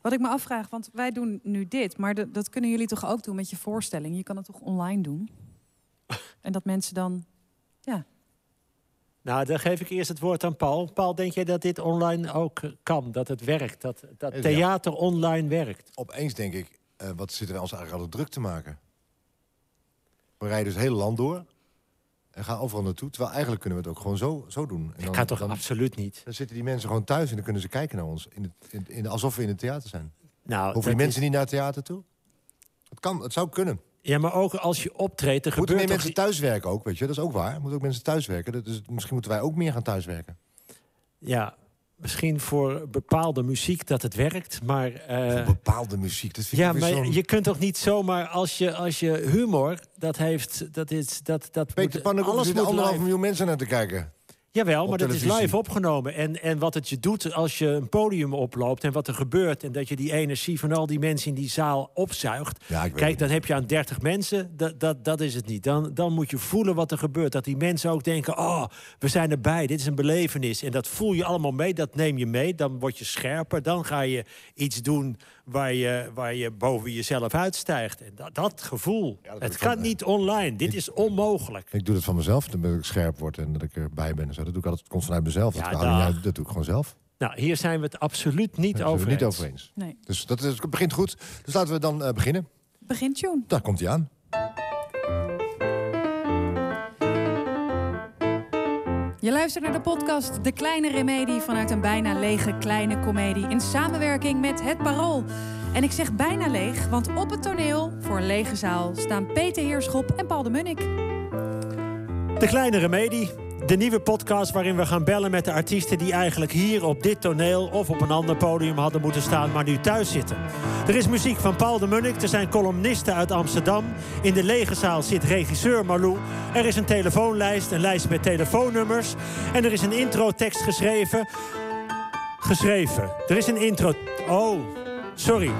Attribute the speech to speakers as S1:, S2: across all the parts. S1: Wat ik me afvraag, want wij doen nu dit, maar dat- dat kunnen jullie toch ook doen met je voorstelling? Je kan het toch online doen? en dat mensen dan.
S2: Nou, dan geef ik eerst het woord aan Paul. Paul, denk jij dat dit online ook eh, kan? Dat het werkt? Dat, dat
S3: Ja.
S2: theater online werkt?
S3: Opeens denk ik, eh, wat zitten wij ons eigenlijk altijd druk te maken? We rijden dus het hele land door en gaan overal naartoe. Terwijl eigenlijk kunnen we het ook gewoon zo, zo doen. En
S2: Dat kan toch
S3: dan,
S2: absoluut niet?
S3: dan zitten die mensen gewoon thuis en dan kunnen ze kijken naar ons. In het, in, in- alsof we in het theater zijn.
S2: Nou,
S3: Hoeven
S2: dat
S3: die
S2: is-
S3: mensen niet naar het theater toe? Het kan, het zou kunnen.
S2: Ja, maar ook als je optreedt, er
S3: Moeten
S2: gebeurt
S3: meer
S2: toch...
S3: mensen thuiswerken ook, weet je? Dat is ook waar. Moeten ook mensen thuiswerken. Dat is, misschien moeten wij ook meer gaan thuiswerken.
S2: Ja, misschien voor bepaalde muziek dat het werkt, maar... eh,
S3: Voor bepaalde muziek. Dat vind
S2: ja,
S3: ik weer
S2: maar
S3: zo'n-
S2: je kunt toch niet zomaar als je, als je humor, dat heeft, dat is, dat, dat
S3: Peter
S2: moet,
S3: Pannenkoek, er
S2: alles
S3: zitten
S2: moet
S3: anderhalf
S2: live.
S3: miljoen mensen naar te kijken.
S2: Jawel,
S3: op
S2: maar dat is
S3: televisie.
S2: live opgenomen. En, en wat het je doet als je een podium oploopt en wat er gebeurt... en dat je die energie van al die mensen in die zaal opzuigt...
S3: Ja, ik weet
S2: Kijk,
S3: het.
S2: dan heb je aan 30 mensen, dat, dat, dat is het niet. Dan, dan moet je voelen wat er gebeurt. Dat die mensen ook denken, oh, we zijn erbij, dit is een belevenis. En dat voel je allemaal mee, dat neem je mee. Dan word je scherper, dan ga je iets doen waar je, waar je boven jezelf uitstijgt. En dat, dat gevoel,
S3: Ja, dat heb
S2: het
S3: ik
S2: kan
S3: van, eh,
S2: niet online, dit is onmogelijk.
S3: Ik doe dat van mezelf, dan ben ik scherp word en dat ik erbij ben. en Zo. Dat doe ik altijd, het komt vanuit mezelf.
S2: Ja,
S3: dat, kan niet
S2: dag.
S3: uit, dat doe ik gewoon zelf.
S2: Nou, hier zijn we het absoluut niet
S3: Daar zijn we
S2: over
S3: het niet
S2: eens.
S3: over eens.
S1: Nee.
S3: Dus dat is, het begint goed. Dus laten we dan eh, beginnen.
S1: Begin tune.
S3: Daar komt hij aan.
S1: Je luistert naar de podcast De Kleine Remedie vanuit een bijna lege kleine komedie in samenwerking met Het Parool. En ik zeg bijna leeg, want op het toneel voor een lege zaal staan Peter Heerschop en Paul de Munnik.
S2: De Kleine Remedie, de nieuwe podcast waarin we gaan bellen met de artiesten die eigenlijk hier op dit toneel of op een ander podium hadden moeten staan, maar nu thuis zitten. Er is muziek van Paul de Munnik, er zijn columnisten uit Amsterdam. In de lege zaal zit regisseur Malou. Er is een telefoonlijst, een lijst met telefoonnummers. En er is een introtekst geschreven. Geschreven. Er is een intro. Oh, sorry.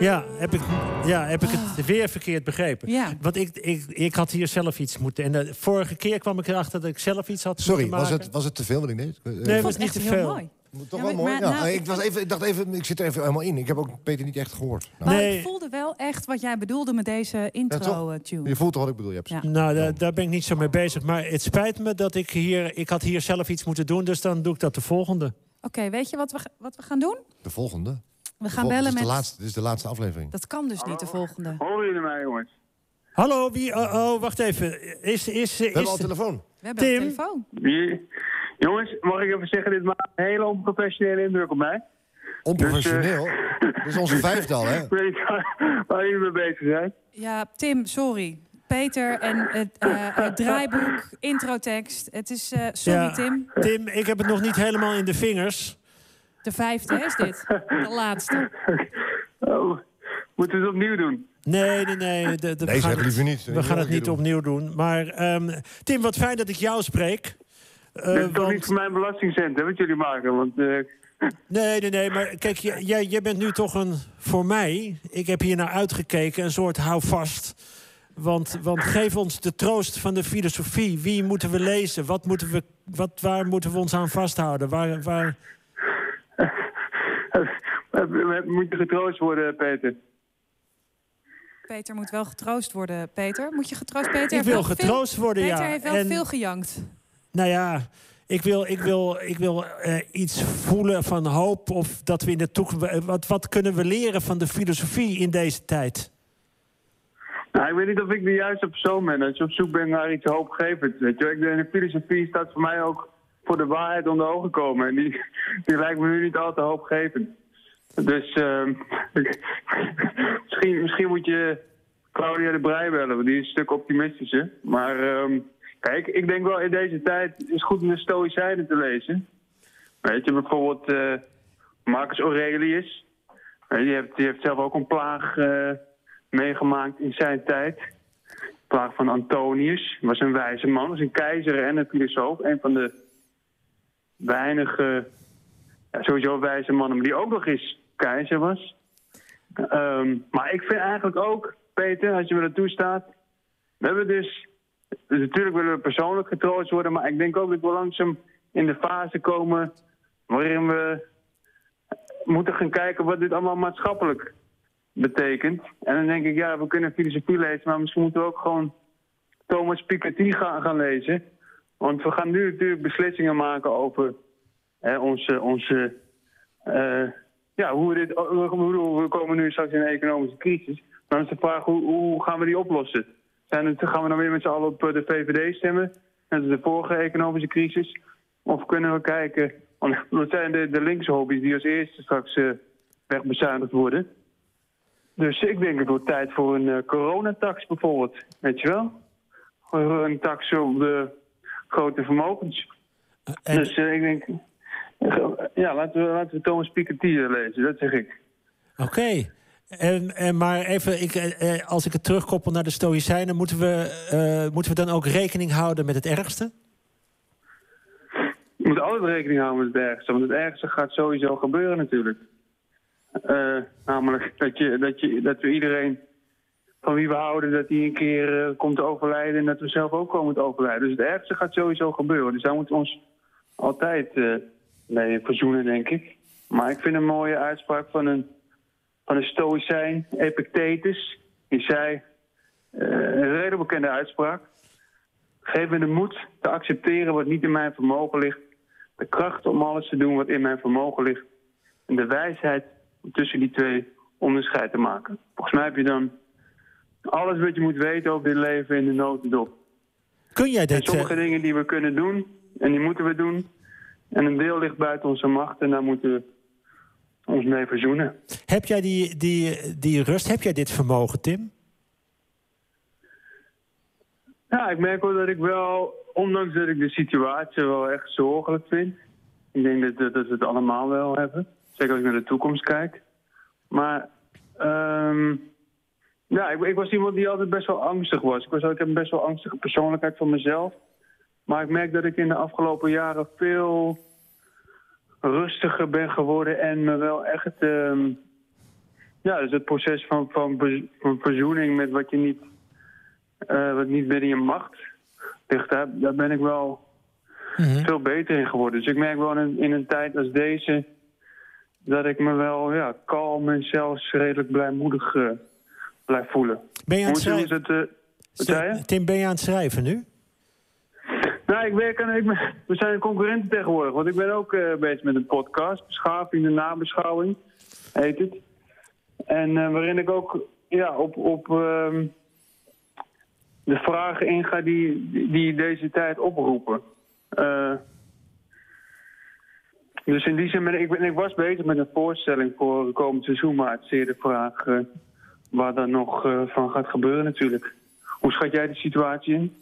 S2: Ja, heb ik, ja, heb ik het weer verkeerd begrepen?
S1: Ah. Ja.
S2: Want ik, ik, ik had hier zelf iets moeten. En de vorige keer kwam ik erachter dat ik zelf iets had
S3: Sorry,
S2: moeten
S3: was
S2: maken.
S3: het, was het te veel wat ik deed? Eh,
S2: Nee,
S3: eh,
S2: was
S1: Vond
S2: niet
S1: echt
S2: te
S1: heel
S2: veel.
S1: mooi.
S3: moet toch
S1: Ja,
S3: wel
S1: maar-
S3: mooi.
S1: maar
S3: Ja,
S1: nou,
S3: ik,
S1: ik-
S3: was even, ik dacht even, ik zit er even helemaal in. Ik heb ook Peter niet echt gehoord. Nou,
S1: Maar
S2: Nee.
S1: ik voelde wel echt wat jij bedoelde met deze eh,
S3: Ja, toch?
S1: intro-tune.
S3: Je voelt toch wat ik bedoel, je hebt
S1: Ja.
S2: Nou, daar, daar ben ik niet zo mee bezig. Maar het spijt me dat ik hier... Ik had hier zelf iets moeten doen, dus dan doe ik dat de volgende.
S1: Oké, weet je wat we, wat we gaan doen?
S3: de volgende. We
S1: We gaan bellen
S3: dit is
S1: met...
S3: De laatste, dit is de laatste aflevering.
S1: Dat kan dus niet, de volgende.
S4: Horen jullie mij, jongens?
S2: Hallo, wie... Oh, oh, wacht even. Is, is,
S3: We hebben
S2: is,
S3: al telefoon.
S1: We hebben een
S2: Tim?
S1: telefoon.
S4: Wie- Jongens, mag ik even zeggen, dit maakt een hele onprofessionele indruk op mij.
S3: Onprofessioneel. Dit is onze vijfde al, hè?
S4: Ik weet niet waar, waar jullie mee bezig zijn.
S1: Ja, Tim, sorry. Peter en het, eh, het draaiboek, introtekst. Het is, eh, sorry
S2: Ja.
S1: Tim,
S2: Tim, ik heb het nog niet helemaal in de vingers.
S1: de vijfde is dit. De laatste.
S4: Oh, moeten we het opnieuw doen?
S2: Nee, nee, nee. De, de,
S3: Nee, zeg
S2: het-
S3: liever niet.
S2: We gaan het niet
S3: doen.
S2: opnieuw doen. Maar ehm, Tim, wat fijn dat ik jou spreek. Eh,
S4: Dit is toch
S2: want-
S4: niet voor mijn belastingcent, hè, wat jullie maken? Want eh,
S2: Nee, nee, nee, maar kijk, j- jij, jij bent nu toch een, voor mij, ik heb hier naar uitgekeken, een soort houvast. Want, want geef ons de troost van de filosofie. Wie moeten we lezen? Wat moeten we, wat, waar moeten we ons aan vasthouden? Waar, waar...
S4: we- we- we moeten getroost worden, Peter.
S1: Peter moet wel getroost worden, Peter. Moet je getroost, Peter?
S2: Ik
S1: heeft
S2: wil
S1: wel veel-
S2: getroost worden, ja.
S1: Peter heeft wel
S2: En-
S1: veel gejankt.
S2: Nou ja, ik wil, ik wil, ik wil eh, iets voelen van hoop. Of dat we in de toekomst. Wat, wat kunnen we leren van de filosofie in deze tijd?
S4: Nou, ik weet niet of ik de juiste persoon ben. Als je op zoek bent naar iets hoopgevends, weet je wel. Ik denk, de filosofie staat voor mij ook voor de waarheid onder ogen komen. En die, die lijkt me nu niet al te hoopgevend. Dus ehm, ik- misschien, misschien moet je Claudia de Brij bellen, want die is een stuk optimistischer. Maar ehm, kijk, ik denk wel in deze tijd is het goed om de Stoïcijnen te lezen. Weet je, bijvoorbeeld eh, Marcus Aurelius. Eh, Die heeft, die heeft zelf ook een plaag eh, meegemaakt in zijn tijd. De plaag van Antonius. Was een wijze man, was een keizer en een filosoof. Een van de weinige, ja, sowieso wijze mannen, maar die ook nog eens keizer was. Ehm, maar ik vind eigenlijk ook, Peter, als je me dat toestaat. We hebben dus. Dus natuurlijk willen we persoonlijk getroost worden, maar ik denk ook dat we langzaam in de fase komen waarin we moeten gaan kijken wat dit allemaal maatschappelijk betekent. En dan denk ik, ja, we kunnen filosofie lezen, maar misschien moeten we ook gewoon Thomas Piketty gaan, gaan lezen. Want we gaan nu natuurlijk beslissingen maken over hè, onze, onze eh, ja, hoe we dit, hoe, we komen nu straks in een economische crisis. Dan is de vraag, hoe, hoe gaan we die oplossen? Zijn het, gaan we dan weer met z'n allen op eh, de VVD stemmen, net als de vorige economische crisis? Of kunnen we kijken, want dat zijn de, de linkse hobby's die als eerste straks eh, wegbezuinigd worden. Dus ik denk het wordt tijd voor een eh, coronatax bijvoorbeeld, weet je wel? Voor Een tax op de grote vermogens.
S2: En-
S4: Dus eh, ik denk, eh, ja, laten we, laten we Thomas Piketty eh, lezen, dat zeg ik.
S2: Oké. En, en maar even, ik, eh, eh, als ik het terugkoppel naar de Stoïcijnen... Moeten we, eh, moeten we dan ook rekening houden met het ergste?
S4: Je moet altijd rekening houden met het ergste, want het ergste gaat sowieso gebeuren natuurlijk. Eh, namelijk dat, je, dat, je, dat we iedereen van wie we houden, dat die een keer eh, komt te overlijden en dat we zelf ook komen te overlijden. Dus het ergste gaat sowieso gebeuren. Dus daar moeten we ons altijd eh, mee verzoenen, denk ik. Maar ik vind een mooie uitspraak van een, van een stoïcijn, Epictetus. Die zei, eh, een redelijk bekende uitspraak. Geef me de moed te accepteren wat niet in mijn vermogen ligt. De kracht om alles te doen wat in mijn vermogen ligt. En de wijsheid om tussen die twee onderscheid te maken. Volgens mij heb je dan alles wat je moet weten over dit leven in de notendop.
S2: Kun jij
S4: En
S2: dit... eh,
S4: sommige dingen die we kunnen doen en die moeten we doen. En een deel ligt buiten onze macht en daar moeten we ons mee verzoenen.
S2: heb jij die, die, die rust, heb jij dit vermogen, Tim?
S4: Ja, ik merk wel dat ik wel, ondanks dat ik de situatie wel echt zorgelijk vind. Ik denk dat, dat, dat we het allemaal wel hebben. Zeker als ik naar de toekomst kijk. Maar ehm, ja, ik, ik was iemand die altijd best wel angstig was. Ik, was, ik heb een best wel angstige persoonlijkheid van mezelf. Maar ik merk dat ik in de afgelopen jaren veel rustiger ben geworden en me wel echt. ehm, ja, dus het proces van, van, ver- van verzoening met wat je niet eh, wat niet binnen je macht ligt, daar, daar ben ik wel
S2: Mhm.
S4: veel beter in geworden. Dus ik merk wel in, een- in een tijd als deze dat ik me wel ja, kalm en zelfs redelijk blijmoedig eh, blijf voelen.
S2: Ben je aan
S4: Hoe
S2: het
S4: is hoe is
S2: schrijven?
S4: het? eh, wat zei je?
S2: Tim, ben je aan het schrijven nu?
S4: Nou, ik werk aan. Ik ben- we zijn concurrenten tegenwoordig. Want ik ben ook eh, bezig met een podcast. Beschaving de nabeschouwing heet het. En eh, waarin ik ook ja, op, op ehm, de vragen inga die, die deze tijd oproepen. Eh, dus in die zin ben ik, ik ben, ik was bezig met een voorstelling voor komend seizoen. Maar het is zeer de vraag eh, waar dan nog eh, van gaat gebeuren natuurlijk. Hoe schat jij de situatie in?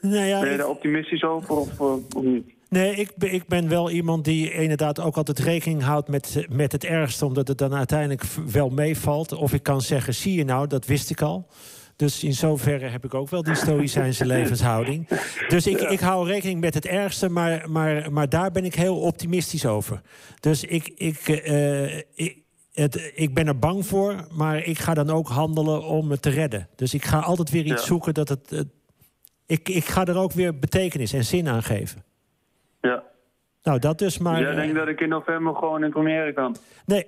S2: Nou ja,
S4: Ben je
S2: ik-
S4: daar optimistisch over of, eh, of niet?
S2: Nee, ik, be- ik ben wel iemand die inderdaad ook altijd rekening houdt met, met het ergste, omdat het dan uiteindelijk v- wel meevalt. Of ik kan zeggen, zie je nou, dat wist ik al. Dus in zoverre heb ik ook wel die stoïcijnse levenshouding. Dus ik, ik hou rekening met het ergste, maar, maar, maar daar ben ik heel optimistisch over. Dus ik, ik, eh, ik, het, ik ben er bang voor, maar ik ga dan ook handelen om het te redden. Dus ik ga altijd weer iets
S4: Ja.
S2: zoeken dat het. het- ik, ik ga er ook weer betekenis en zin aan geven.
S4: Ja.
S2: Nou, dat dus, maar...
S4: jij
S2: eh,
S4: denkt dat ik in november gewoon in première kan?
S2: Nee.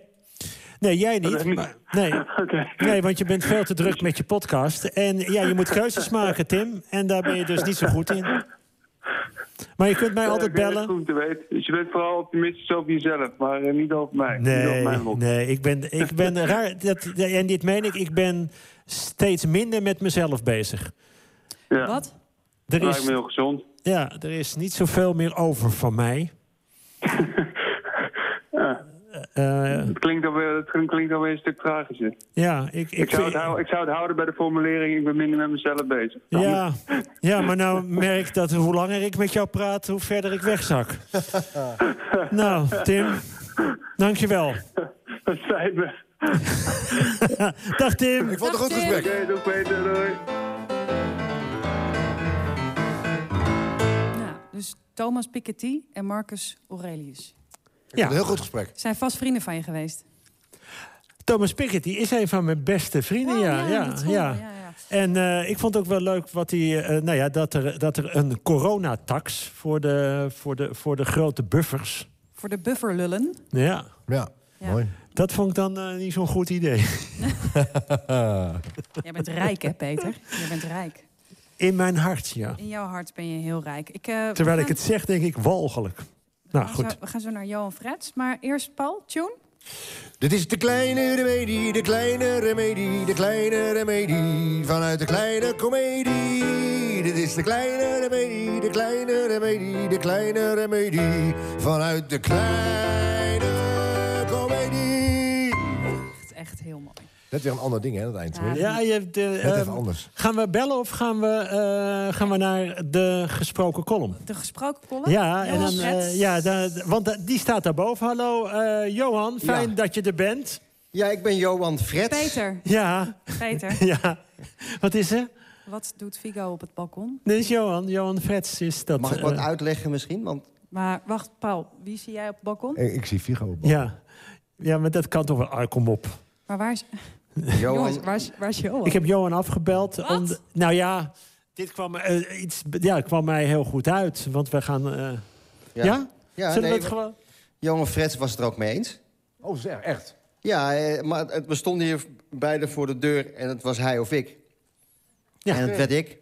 S2: Nee, jij niet.
S4: Dat niet.
S2: maar- nee.
S4: Oké.
S2: nee, want je bent veel te druk met je podcast. En ja, je moet keuzes maken, Tim. En daar ben je dus niet zo goed in. Maar je kunt mij altijd
S4: Ik vind het
S2: bellen.
S4: goed om te weten. Dus je bent vooral optimistisch over jezelf, maar eh, niet over mij. niet over
S2: Nee,
S4: mijn lot.
S2: nee, ik ben, ik ben raar. Dat, en dit meen ik, ik ben steeds minder met mezelf bezig.
S4: Ja.
S1: Wat?
S2: Er
S4: Lijkt me
S2: is,
S4: heel gezond.
S2: ja, er is niet zoveel meer over van mij. Eh,
S4: Het klinkt alweer, het klinkt alweer een stuk tragischer. Ik,
S2: ja, ik, ik,
S4: zou
S2: vind-
S4: het houden, ik zou het houden bij de formulering, ik ben minder met mezelf bezig.
S2: Ja, ja, Nou, maar nou merk ik dat hoe langer ik met jou praat, hoe verder ik wegzak. nou, Tim, dankjewel.
S4: Dat spijt me.
S2: Dag Tim.
S3: Ik vond het een goed
S1: Dag, Tim.
S3: gesprek.
S4: Oké, doe beter, doei.
S1: Nou, dus Thomas Piketty en Marcus Aurelius.
S3: Een
S2: Ja,
S3: heel goed gesprek.
S1: Zijn vast vrienden van je geweest.
S2: Thomas Piketty is een van mijn beste vrienden.
S1: Oh,
S2: ja, ja,
S1: dat is
S2: ja,
S1: wel- ja, ja.
S2: En eh, ik vond ook wel leuk wat hij, eh, nou ja, dat, er, dat er een coronatax voor de, voor, de, voor de grote buffers. nou
S1: Voor de bufferlullen.
S2: Ja,
S3: Ja,
S1: Ja.
S3: mooi.
S2: dat vond ik dan eh, niet zo'n goed idee.
S1: Jij bent rijk, hè, Peter? Jij bent rijk.
S2: In mijn hart, ja.
S1: In jouw hart ben je heel rijk. Ik, eh, we
S2: Terwijl ik
S1: gaan-
S2: het zeg, denk ik walgelijk. Nou
S1: we gaan
S2: goed,
S1: Zo, we gaan zo naar Johan Frets. Maar eerst Paul, tune.
S3: Dit is de kleine remedie, de kleine remedie, de kleine remedie. Vanuit de kleine komedie. Dit is de kleine remedie, de kleine remedie, de kleine remedie. Vanuit de kleine komedie.
S1: Echt, echt heel mooi.
S3: Net weer een ander ding, hè, dat eind.
S1: Ja.
S3: hoor.
S2: ja, je, hebt, eh,
S3: Net
S2: ehm,
S3: even anders.
S2: gaan we bellen of gaan we, eh, gaan we naar de gesproken column?
S1: De gesproken column.
S2: Ja, en
S1: Johan
S2: dan,
S1: Frets.
S2: eh, ja da- want da- die staat daarboven. Hallo eh, Johan, fijn
S5: Ja.
S2: dat je er bent.
S5: Ja, ik ben Johan Frets.
S1: Peter,
S2: Ja,
S1: Peter,
S2: ja. Wat is er?
S1: wat doet Figo op het balkon?
S2: Dit is Johan, Johan Frets is dat.
S5: Mag ik wat
S2: eh,
S5: uitleggen misschien? Want
S1: Maar wacht, Paul, wie zie jij op het balkon?
S3: Ik, ik zie Figo op.
S2: Ja. ja, maar dat kan toch wel. Ah, kom op.
S1: Maar waar
S3: Oh,
S1: is, jongens,
S5: Johan,
S1: waar is, waar is Johan?
S2: Ik heb Johan afgebeld.
S1: Wat?
S2: om de- nou ja, dit kwam, eh, iets, ja, het kwam mij heel goed uit. Want we gaan... eh, ja?
S5: Ja,
S2: Zullen we
S5: nee,
S2: het gewoon...
S5: Johan Frets was het er ook mee eens.
S3: Oh, zeg, echt?
S5: Ja, eh, maar het- we stonden hier beiden voor de deur en het was hij of ik.
S2: Ja.
S5: En het werd ik.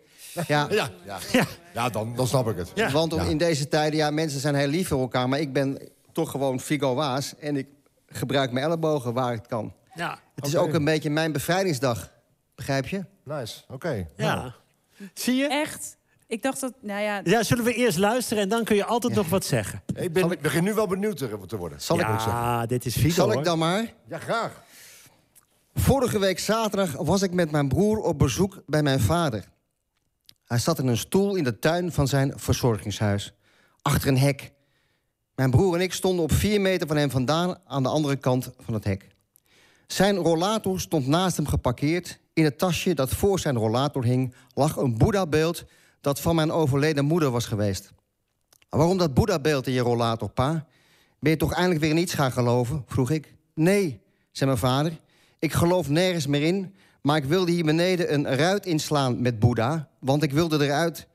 S5: Ja,
S3: Ja, ja. ja. dan, dan snap ik het.
S2: Ja.
S5: want om-
S3: Ja.
S5: in deze tijden, ja, mensen zijn heel lief voor elkaar... maar ik ben toch gewoon Figo Waas en ik gebruik mijn ellebogen waar het kan.
S2: Ja.
S5: Het is
S3: Oké.
S5: ook een beetje mijn bevrijdingsdag, begrijp je?
S3: Nice, oké.
S2: ja. Zie je?
S1: Echt? Ik dacht dat, nou ja,
S2: Ja, zullen we eerst luisteren en dan kun je altijd nog wat zeggen.
S3: Ik ben, ik begin nu wel benieuwd te te worden.
S5: Zal, ik,
S2: ja, dit is Figo.
S5: zal
S2: hoor.
S5: ik dan maar?
S3: Ja, graag.
S5: Vorige week zaterdag was ik met mijn broer op bezoek bij mijn vader. Hij zat in een stoel in de tuin van zijn verzorgingshuis, achter een hek. Mijn broer en ik stonden op vier meter van hem vandaan aan de andere kant van het hek. Zijn rollator stond naast hem geparkeerd. In het tasje dat voor zijn rollator hing lag een Boeddha-beeld dat van mijn overleden moeder was geweest. Waarom dat Boeddha-beeld in je rollator, pa? Ben je toch eindelijk weer in iets gaan geloven? vroeg ik. Nee, zei mijn vader. Ik geloof nergens meer in, maar ik wilde hier beneden een ruit inslaan met Boeddha, want ik wilde eruit.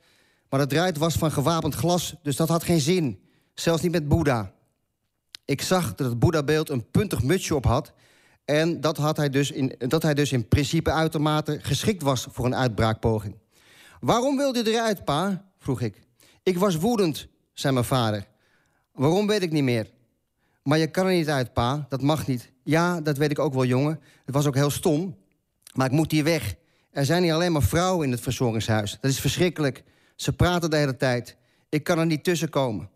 S5: Maar dat ruit was van gewapend glas, dus dat had geen zin. Zelfs niet met Boeddha. Ik zag dat het Boeddha-beeld een puntig mutsje op had. En dat, had hij dus in, dat hij dus in principe uitermate geschikt was voor een uitbraakpoging. Waarom wilde je eruit, pa? vroeg ik. Ik was woedend, zei mijn vader. Waarom weet ik niet meer. Maar je kan er niet uit, pa. Dat mag niet. Ja, dat weet ik ook wel, jongen. Het was ook heel stom. Maar ik moet hier weg. Er zijn hier alleen maar vrouwen in het verzorgingshuis. Dat is verschrikkelijk. Ze praten de hele tijd. Ik kan er niet tussenkomen.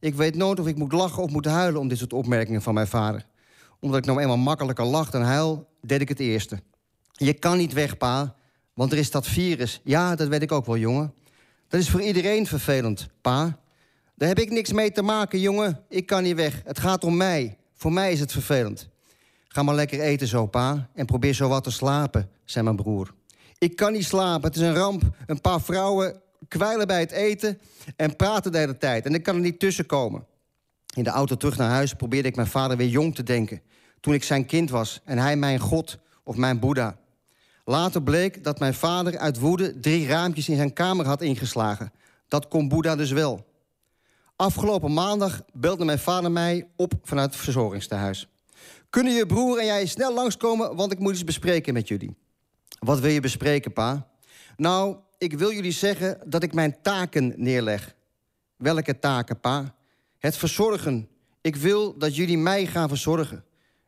S5: Ik weet nooit of ik moet lachen of moet huilen om dit soort opmerkingen van mijn vader. Omdat ik nou eenmaal makkelijker lach dan huil, deed ik het eerste. Je kan niet weg, pa, want er is dat virus. Ja, dat weet ik ook wel, jongen. Dat is voor iedereen vervelend, pa. Daar heb ik niks mee te maken, jongen. Ik kan niet weg. Het gaat om mij. Voor mij is het vervelend. Ga maar lekker eten zo, pa. En probeer zo wat te slapen, zei mijn broer. Ik kan niet slapen, het is een ramp. Een paar vrouwen kwijlen bij het eten en praten de hele tijd. En ik kan er niet tussen komen. In de auto terug naar huis probeerde ik mijn vader weer jong te denken. Toen ik zijn kind was en hij mijn god of mijn boeddha. Later bleek dat mijn vader uit woede drie raampjes in zijn kamer had ingeslagen. Dat kon boeddha dus wel. Afgelopen maandag belde mijn vader mij op vanuit het verzorgingstehuis. Kunnen je broer en jij snel langskomen, want ik moet iets bespreken met jullie. Wat wil je bespreken, pa? Nou, ik wil jullie zeggen dat ik mijn taken neerleg. Welke taken, pa? Het verzorgen. Ik wil dat jullie mij gaan verzorgen.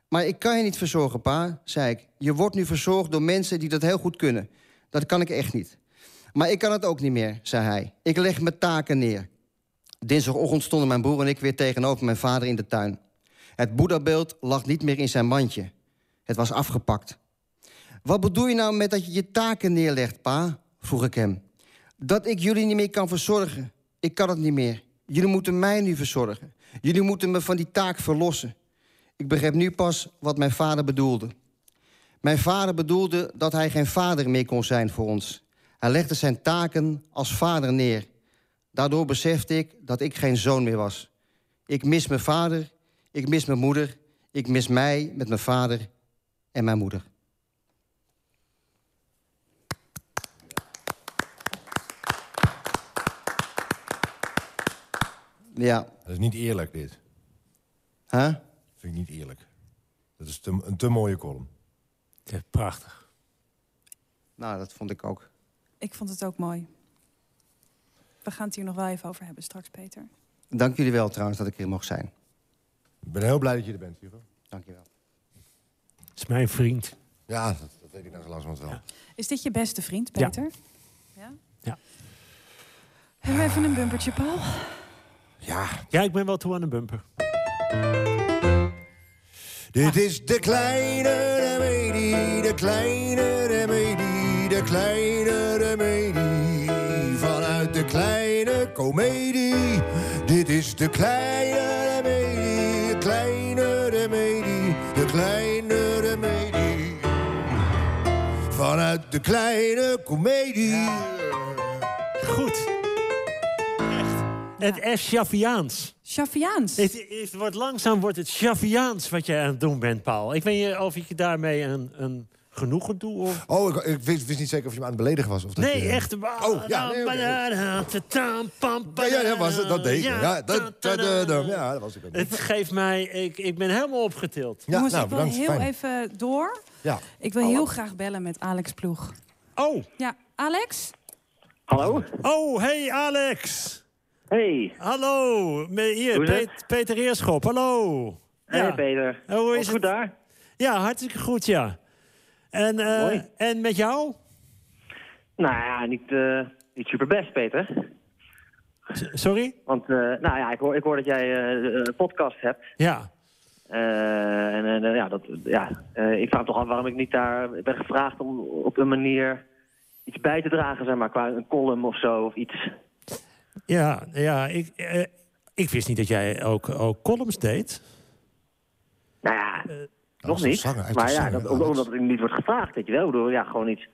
S5: Maar ik kan je niet verzorgen, pa, zei ik. Je wordt nu verzorgd door mensen die dat heel goed kunnen. Dat kan ik echt niet. Maar ik kan het ook niet meer, zei hij. Ik leg mijn taken neer. Dinsdagochtend stonden mijn broer en ik weer tegenover mijn vader in de tuin. Het Boeddha-beeld lag niet meer in zijn mandje. Het was afgepakt. Wat bedoel je nou met dat je je taken neerlegt, pa? vroeg ik hem. Dat ik jullie niet meer kan verzorgen. Ik kan het niet meer. Jullie moeten mij nu verzorgen. Jullie moeten me van die taak verlossen. Ik begreep nu pas wat mijn vader bedoelde. Mijn vader bedoelde dat hij geen vader meer kon zijn voor ons. Hij legde zijn taken als vader neer. Daardoor besefte ik dat ik geen zoon meer was. Ik mis mijn vader, ik mis mijn moeder, ik mis mij met mijn vader en mijn moeder. Ja,
S3: Dat is niet eerlijk, dit.
S5: Huh?
S3: Vind ik niet eerlijk. Dat is te- een te mooie column.
S2: Ja, Prachtig.
S5: Nou, dat vond ik ook.
S1: Ik vond het ook mooi. We gaan het hier nog wel even over hebben straks, Peter.
S5: Dank jullie wel trouwens dat ik hier mocht zijn.
S3: Ik ben heel blij dat je er bent, Hugo.
S5: Dank je wel.
S2: Dat is mijn vriend.
S3: Ja, dat, dat weet ik nou zo langzamerhand wel.
S1: Is dit je beste vriend,
S2: Ja.
S1: Peter? Ja.
S2: Ja.
S1: Hebben we even een bumpertje, Paul?
S3: Ja,
S2: Ja, ik ben wel toe aan een bumper.
S3: dit is de kleine remedie, de kleine remedie, de kleine remedie. Vanuit de kleine komedie. Dit is de kleine remedie, de kleine remedie, de kleine remedie. Vanuit de kleine komedie.
S2: Goed. Echt. Het F. Shafiaans.
S1: Shafiaans.
S2: Het, het wordt langzaam wordt het Shafiaans wat jij aan het doen bent, Paul. Ik weet niet of ik je daarmee een, een genoegen doe. Of...
S3: Oh, ik, ik wist, wist niet zeker of je me aan het beledigen was. Of dat
S2: Nee,
S3: je-
S2: echt.
S3: Oh, ja, nee, oké. Ja,
S2: Ja,
S3: ja, ja, was het, dat deed ik. Ja, dat, dat, dat, dat, ja, dat was ik ook niet.
S2: Het geeft mij... Ik, ik ben helemaal opgetild.
S3: Ja,
S1: Jongens,
S3: nou,
S1: ik wil
S3: bedankt.
S1: heel
S3: Fijn.
S1: even door.
S3: Ja.
S1: Ik wil heel graag bellen met Alex Ploeg.
S2: Oh,
S1: Ja, Alex?
S6: Hallo?
S2: oh, hey Alex.
S6: Hey.
S2: Hallo, me- hier,
S6: Hoe is het?
S2: Pe- Peter Eerschop, hallo.
S6: Hey Peter.
S2: En hoe is
S6: Alles goed
S2: het?
S6: daar?
S2: Ja, hartstikke goed, ja. En, eh,
S6: Mooi.
S2: en met jou?
S6: Nou ja, niet, eh niet super best, Peter.
S2: S- Sorry?
S6: Want eh, nou ja, ik hoor, ik hoor dat jij eh, een podcast hebt.
S2: Ja.
S6: Eh, en eh, ja, dat, ja eh, ik vraag me toch af waarom ik niet daar ik ben gevraagd om op een manier iets bij te dragen, zeg maar, qua een column of zo of iets.
S2: Ja, ja ik, eh, ik wist niet dat jij ook, ook columns deed.
S6: Nou ja, nog
S3: zo'n
S6: niet.
S3: zanger, hij is
S6: maar
S3: een
S6: ja,
S3: zanger,
S6: dat, ook
S3: Alex.
S6: omdat ik niet wordt gevraagd, weet je wel. Ik bedoel, ja, gewoon iets.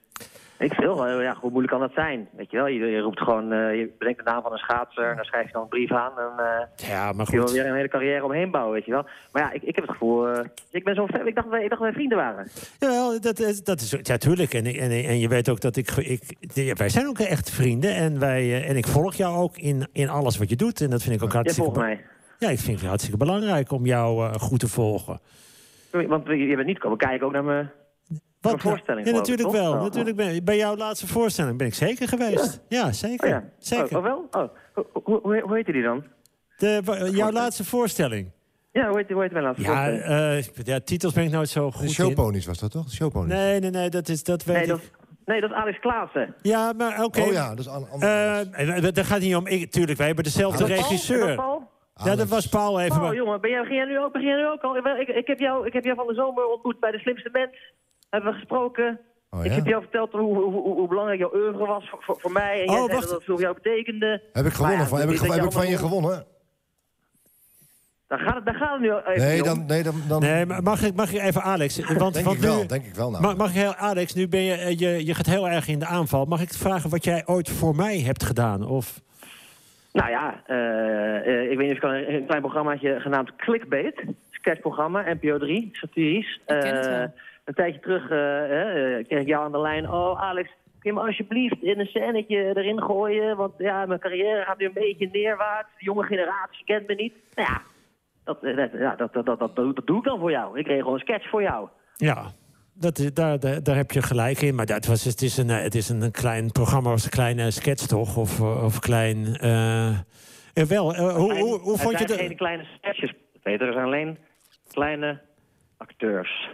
S6: Ik veel, eh, ja, hoe moeilijk kan dat zijn? Weet je wel, je, je roept gewoon, eh, je bedenkt de naam van een schaatser, en dan schrijf je dan een brief aan en eh,
S2: Ja, maar
S6: kun je wel
S2: goed.
S6: weer een hele carrière omheen bouwen, weet je wel. Maar ja, ik, ik heb het gevoel, eh, ik ben zo'n fan, ik dacht, dat wij- ik dacht dat wij vrienden waren.
S2: Jawel, dat, is- dat is... Ja, tuurlijk. En, en, en je weet ook dat ik... ik ja, wij zijn ook echt vrienden. En, wij, eh, en ik volg jou ook in, in alles wat je doet. En dat vind ik ook
S6: Ja,
S2: hartstikke...
S6: volgens
S2: be-
S6: mij.
S2: Ja, ik vind het hartstikke belangrijk om jou eh, goed te volgen.
S6: Sorry, Want je, je bent niet komen kijken ook naar mijn...
S2: Wat
S6: Een
S2: nou?
S6: voorstelling,
S2: Ja,
S6: geloof ik,
S2: natuurlijk
S6: toch?
S2: wel.
S6: Oh.
S2: Natuurlijk ben, bij jouw laatste voorstelling ben ik zeker geweest. Ja, zeker.
S6: Oh ja,
S2: zeker.
S6: Oh, oh, wel? Oh, hoe, hoe, hoe, hoe heette die dan?
S2: De, wa- jouw laatste voorstelling.
S6: Ja, hoe heette, hoe heette mijn laatste
S2: Ja,
S6: voorstelling?
S2: eh, ja, titels ben ik nooit zo goed
S3: De
S2: in.
S3: showponies was dat toch? De showponies.
S2: Nee, nee, nee, dat, is, dat weet
S6: nee, dat,
S2: ik.
S6: nee, dat is Alex Klaassen.
S2: Ja, maar oké.
S3: Oh ja, dat is een ander.
S2: Eh, eh, dat- daar gaat het niet om. Ik, tuurlijk, wij hebben dezelfde
S3: Hallo, Paul?
S6: Is dat
S2: regisseur.
S6: Paul?
S2: Ja, dat was Paul even.
S6: Oh,
S2: maar-
S6: jongen, ben jij, begin, jij nu ook, begin jij nu ook al? Ik, ik, ik heb jou, ik heb jou van de zomer ontmoet bij de slimste mens. Hebben we gesproken.
S3: Oh,
S6: Ik
S3: ja?
S6: heb jou verteld hoe, hoe, hoe, hoe belangrijk jouw oeuvre was voor, voor, voor mij. En jij
S2: Oh,
S6: zei
S2: wacht.
S6: dat het voor jou betekende.
S3: Heb ik gewonnen?
S6: Maar ja,
S3: van, heb
S6: dat
S3: ik,
S6: je
S3: heb ik van je
S6: allemaal-
S3: gewonnen?
S6: Daar gaat het, daar gaat het nu al even
S3: Nee,
S6: om.
S3: dan... Nee, dan, dan
S2: Nee, maar mag ik, mag ik even Alex? Want,
S3: denk
S2: want
S3: ik wel,
S2: nu,
S3: denk ik wel. Nou.
S2: mag, mag ik heel, Alex, nu ben je, eh, je, je gaat heel erg in de aanval. Mag ik vragen wat jij ooit voor mij hebt gedaan? Of,
S6: Nou ja, eh, eh, ik weet niet of ik kan een, een klein programmaatje genaamd Clickbait. Sketchprogramma, NPO 3, satirisch.
S1: Ik ken het wel.
S6: Eh, een tijdje terug eh, eh, eh, kreeg ik jou aan de lijn. Oh, Alex, kun je me alsjeblieft in een scènetje erin gooien? Want ja, mijn carrière gaat nu een beetje neerwaarts. De jonge generatie kent me niet. Nou ja, dat, eh, dat, ja, dat, dat, dat, dat, doe- dat doe ik dan voor jou. Ik kreeg gewoon een sketch voor jou.
S2: ja, dat, is- daar, daar, daar heb je gelijk in. Maar dat was, het is een, eh, het is een, een klein programma, was een kleine sketch toch? Of, eh, of klein. eh, eh, wel, eh, hoe, hoe, hoe
S6: Het
S2: vond je
S6: zijn geen
S2: dat?
S6: kleine sketches, Peter. Er zijn alleen kleine acteurs.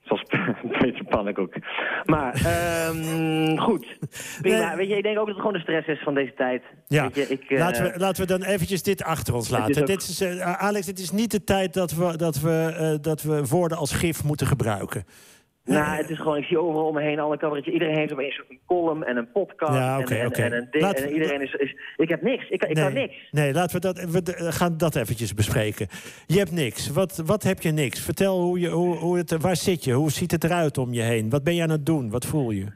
S6: Zoals Peter Pannenkoek. Maar, ehm, goed. Prima.
S2: Nee.
S6: Weet je, ik denk ook dat het gewoon de stress is van deze tijd.
S2: Ja,
S6: Weet je, ik, eh,
S2: laten, we, laten we dan eventjes dit achter ons
S6: is
S2: laten.
S6: ook-
S2: dit is, eh, Alex, het is niet de tijd dat we, dat, we, eh, dat we woorden als gif moeten gebruiken.
S6: Nou, het is gewoon, ik zie overal om me heen alle cabaretjes. Iedereen heeft opeens een column en een podcast.
S2: Ja, oké,
S6: en, en,
S2: oké.
S6: en een ding.
S2: Laten we-
S6: En iedereen is, is... Ik heb niks. Ik, kan- ik kan niks.
S2: Nee, laten we dat. We eh, gaan dat eventjes bespreken. Je hebt niks. Wat, wat heb je niks? Vertel hoe je, hoe, hoe het, waar zit je? Hoe ziet het eruit om je heen? Wat ben je aan het doen? Wat voel je?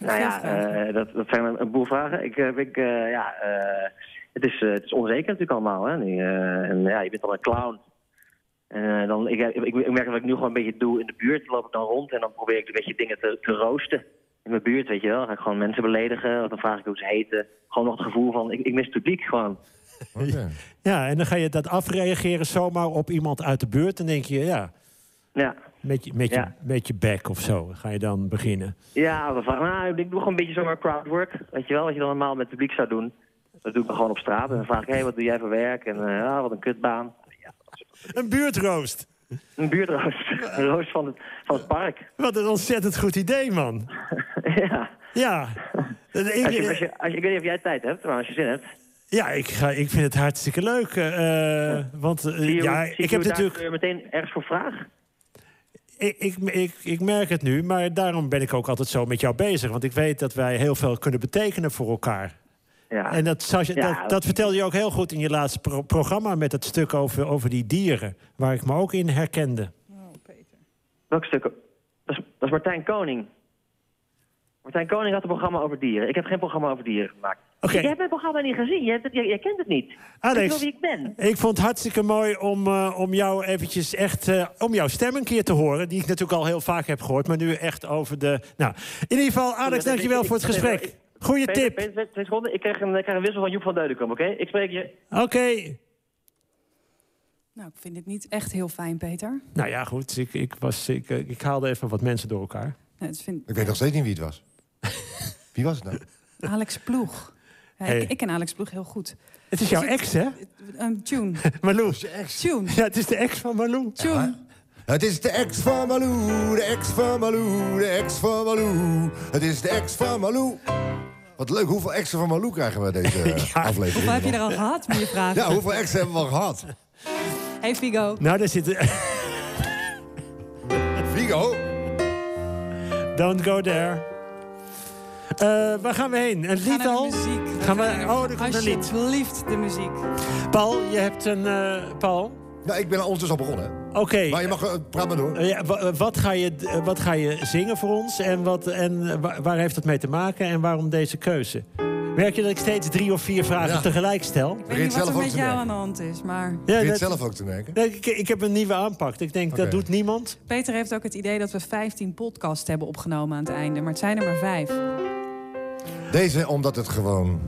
S6: Nou ja,
S1: Veel vragen.
S6: eh, dat, dat zijn een, een boel vragen. Ik, heb ik, eh, ja, eh, het, is, eh, het is onzeker natuurlijk allemaal. Hè? Nu, eh, en, ja, je bent al een clown. En, eh, dan, ik, ik, ik merk dat ik nu gewoon een beetje doe in de buurt. loop ik dan rond en dan probeer ik een beetje dingen te, te roosten. In mijn buurt, weet je wel. Dan ga ik gewoon mensen beledigen. Dan vraag ik hoe ze heten. Gewoon nog het gevoel van, ik, ik mis het publiek gewoon.
S3: Oké.
S2: Ja, en dan ga je dat afreageren zomaar op iemand uit de buurt. Dan denk je, ja,
S6: Ja.
S2: met je, met je,
S6: Ja.
S2: met je back of zo ga je dan beginnen.
S6: Ja, we vragen, nou, ik doe gewoon een beetje zomaar crowdwork. Weet je wel, wat je dan normaal met het publiek zou doen. Dat doe ik dan gewoon op straat. En dan vraag ik, hé, wat doe jij voor werk? En eh, ah, wat een kutbaan. Ja,
S2: Een buurtroost.
S6: een buurtroost. Een roost van het, van het park.
S2: Wat een ontzettend goed idee, man.
S6: ja.
S2: Ja. Ik-
S6: Als je, als je, als je, ik weet niet of jij tijd hebt, maar als je zin hebt.
S2: Ja, ik, ga, ik vind het hartstikke leuk. eh, eh, Want eh,
S6: Zie je
S2: ja,
S6: hoe- zie je
S2: ik heb
S6: hoe daar
S2: natuurlijk.
S6: weer meteen ergens voor vraag.
S2: Ik, ik, ik, ik merk het nu, maar daarom ben ik ook altijd zo met jou bezig. Want ik weet dat wij heel veel kunnen betekenen voor elkaar.
S6: Ja.
S2: En dat, Sascha,
S6: Ja,
S2: dat,
S6: dat-
S2: dat vertelde je ook heel goed in je laatste pro- programma met dat stuk over, over die dieren, waar ik me ook in herkende.
S6: Welk stuk? Dat is, dat is Martijn Koning. Martijn Koning had een programma over dieren. Ik heb geen programma over dieren gemaakt.
S2: Oké.
S6: Jij hebt mijn programma niet gezien. Jij, jij, jij kent het niet. Ik
S2: Alex,
S6: weet wie ik ben.
S2: ik vond het hartstikke mooi om, eh, om jou eventjes echt, eh, om jouw stem een keer te horen. Die ik natuurlijk al heel vaak heb gehoord, maar nu echt over de. Nou, in ieder geval, Alex,
S6: dat-
S2: dankjewel
S6: ik-
S2: voor het
S6: ik-
S2: gesprek.
S6: ik-
S2: Goeie
S6: Peter,
S2: tip.
S6: Peter, twee- twee seconden. Ik krijg, een, ik krijg een wissel van Joep van Deudekom, oké? Ik spreek je.
S2: Oké.
S1: Nou, ik vind dit niet echt heel fijn, Peter.
S2: Nou ja, goed. Ik, ik, was, ik, eh, ik haalde even wat mensen door elkaar.
S1: Nee, dat vind
S3: Ik weet nog steeds niet wie het was. Wie was het nou?
S1: Alex Ploeg. Ja,
S2: Hey.
S1: ik, ik ken Alex Ploeg heel goed. Ehm,
S2: Het is jouw
S1: het-
S2: ex, hè?
S1: Een tune,
S2: Marlou.
S1: tune,
S2: Ja, het is de ex van Marlou.
S1: tune.
S3: Het is de ex van Malou, de ex van Malou, de ex van Malou. Het is de ex van Malou. Wat leuk, hoeveel exen van Malou krijgen we deze eh, aflevering?
S1: Hoeveel heb je er al gehad, moet je vragen.
S3: Ja, hoeveel exen hebben we al gehad?
S1: Hey Figo,
S2: Nou, daar zit...
S3: Vigo?
S2: Don't go there. Eh, waar gaan we heen? Een
S1: ga
S2: lied
S1: naar de
S2: al?
S1: muziek. Ah, We
S2: Gaan we...
S1: naar de-
S2: Oh, er komt een lied.
S1: Alsjeblieft de muziek.
S2: Paul, je hebt een... eh, Paul?
S3: Nou, ik ben aan ons dus al begonnen. hè.
S2: Oké.
S3: Maar je mag, eh, praat maar door.
S2: Eh, ja, wa- eh, wat, ga je, eh, wat ga je zingen voor ons? En, wat, en eh, wa- waar heeft dat mee te maken? En waarom deze keuze? Merk je dat ik steeds drie of vier vragen
S3: Ja.
S2: tegelijk stel?
S1: Ik
S3: Begin
S1: weet niet wat
S3: zelf
S1: er
S3: ook
S1: met
S3: te
S1: jou
S3: werken.
S1: aan de hand is, maar...
S2: Ja,
S3: Kun je het
S2: dat-
S3: zelf ook te merken?
S2: Nee, Ik, ik heb een nieuwe aanpak. Ik denk, dat
S3: Oké.
S2: doet niemand.
S1: Peter heeft ook het idee dat we 15 podcasts hebben opgenomen aan het einde. Maar het zijn er maar vijf.
S3: Deze, omdat het gewoon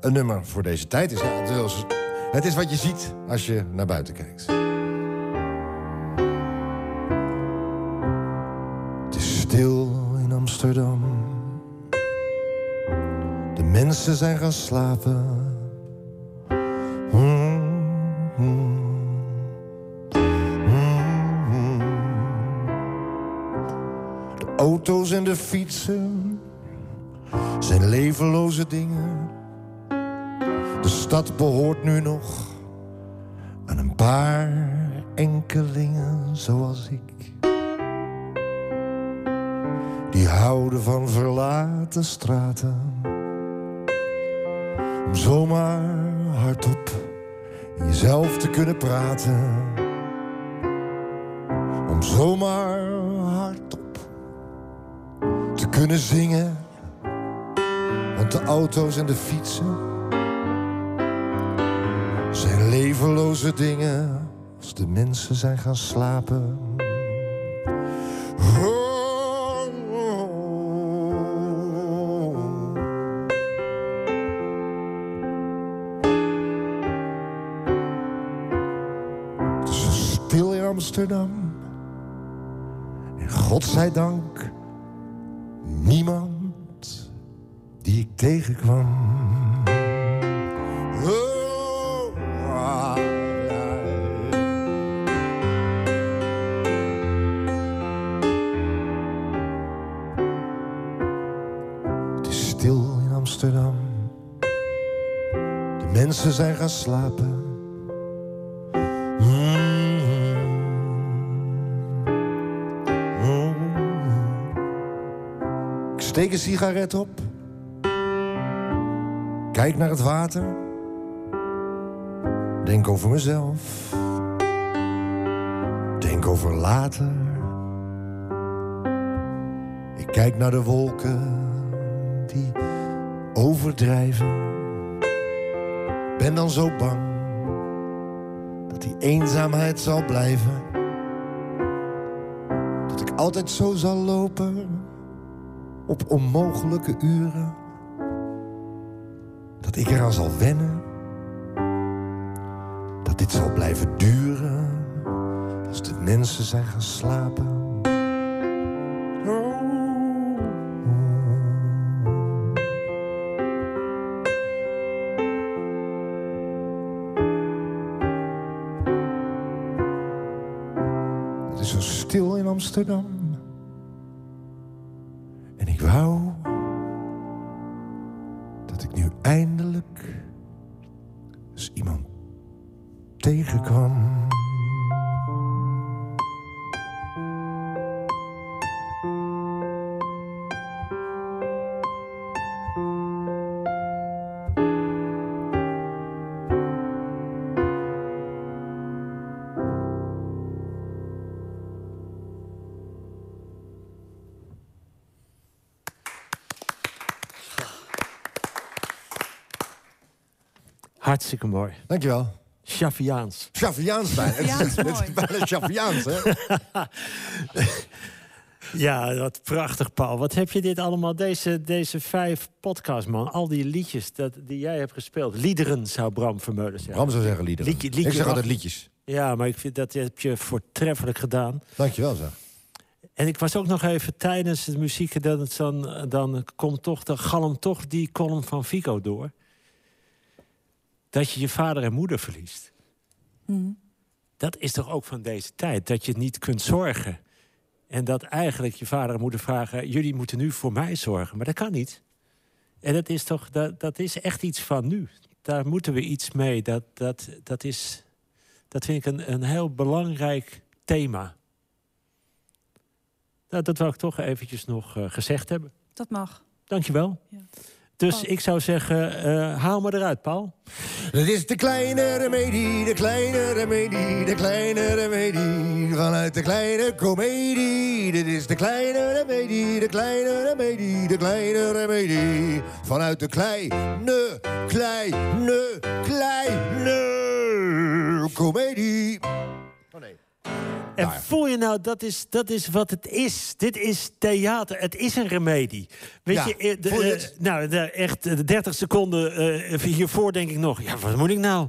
S3: een nummer voor deze tijd is. Ja, het is- Het is wat je ziet als je naar buiten kijkt. Het is stil in Amsterdam. De mensen zijn gaan slapen. Hmm, hmm. Hmm, hmm. De auto's en de fietsen zijn levenloze dingen. De stad behoort nu nog aan een paar enkelingen zoals ik. Die houden van verlaten straten. Om zomaar hardop in jezelf te kunnen praten. Om zomaar hardop te kunnen zingen. Want de auto's en de fietsen zijn levenloze dingen als de mensen zijn gaan slapen. Oh, Het is zo Stil in Amsterdam. En godzijdank niemand die ik tegenkwam. Oh, ah, ja. Het is stil in Amsterdam. De mensen zijn gaan slapen. Mm. Mm. Ik steek een sigaret op. Kijk naar het water. Denk over mezelf. Denk over later. Ik kijk naar de wolken die overdrijven. Ben dan zo bang dat die eenzaamheid zal blijven. Dat ik altijd zo zal lopen op onmogelijke uren dat ik eraan zal wennen dat dit zal blijven duren. Als de mensen zijn gaan slapen. Oh, Het is zo stil in Amsterdam. En ik wou dat ik nu eindelijk eens iemand tegenkwam.
S2: Hartstikke mooi.
S3: Dankjewel.
S2: Shafiaans.
S3: Chaviaans bijna.
S1: Chaviaans,
S3: Het is
S1: mooi.
S3: bijna Chaviaans, hè?
S2: Ja, wat prachtig, Paul. Wat heb je dit allemaal, deze, deze vijf podcasts, man. Al die liedjes dat, die jij hebt gespeeld. Liederen, zou Bram Vermeulen zeggen.
S3: Bram zou zeggen liederen.
S2: Liedje- liedje
S3: ik zeg altijd
S2: af.
S3: liedjes.
S2: Ja, maar ik vind dat heb je voortreffelijk gedaan.
S3: Dankjewel, zeg.
S2: En ik was ook nog even tijdens het muziek... dat het dan, eh, dan komt toch, dan galmt toch die column van Vico door. Dat je je vader en moeder verliest. Dat is toch ook van deze tijd, dat je niet kunt zorgen. En dat eigenlijk je vader en moeder vragen... jullie moeten nu voor mij zorgen, maar dat kan niet. En dat is toch, dat, dat is echt iets van nu. Daar moeten we iets mee. Dat, dat, dat, is, dat vind ik een, een heel belangrijk thema... Nou, dat wil ik toch eventjes nog eh, gezegd hebben.
S1: Dat mag.
S2: Dankjewel.
S1: Ja.
S2: Dus
S1: Paul.
S2: ik zou zeggen, eh, haal me eruit, Paul.
S3: Het is de kleine remedie, de kleine remedie, de kleine remedie. Vanuit de kleine komedie. Dit is de kleine remedie, de kleine remedie, de kleine remedie. Vanuit de kleine, kleine, kleine komedie. Oh nee.
S2: En
S3: Nou ja.
S2: voel je nou, dat is, dat is wat het is. Dit is theater. Het is een remedie. Weet
S3: Ja,
S2: je, eh, de,
S3: voel je
S2: eh,
S3: het?
S2: nou, de, echt, eh, de 30 seconden eh, hiervoor denk ik nog... ja, wat moet ik nou?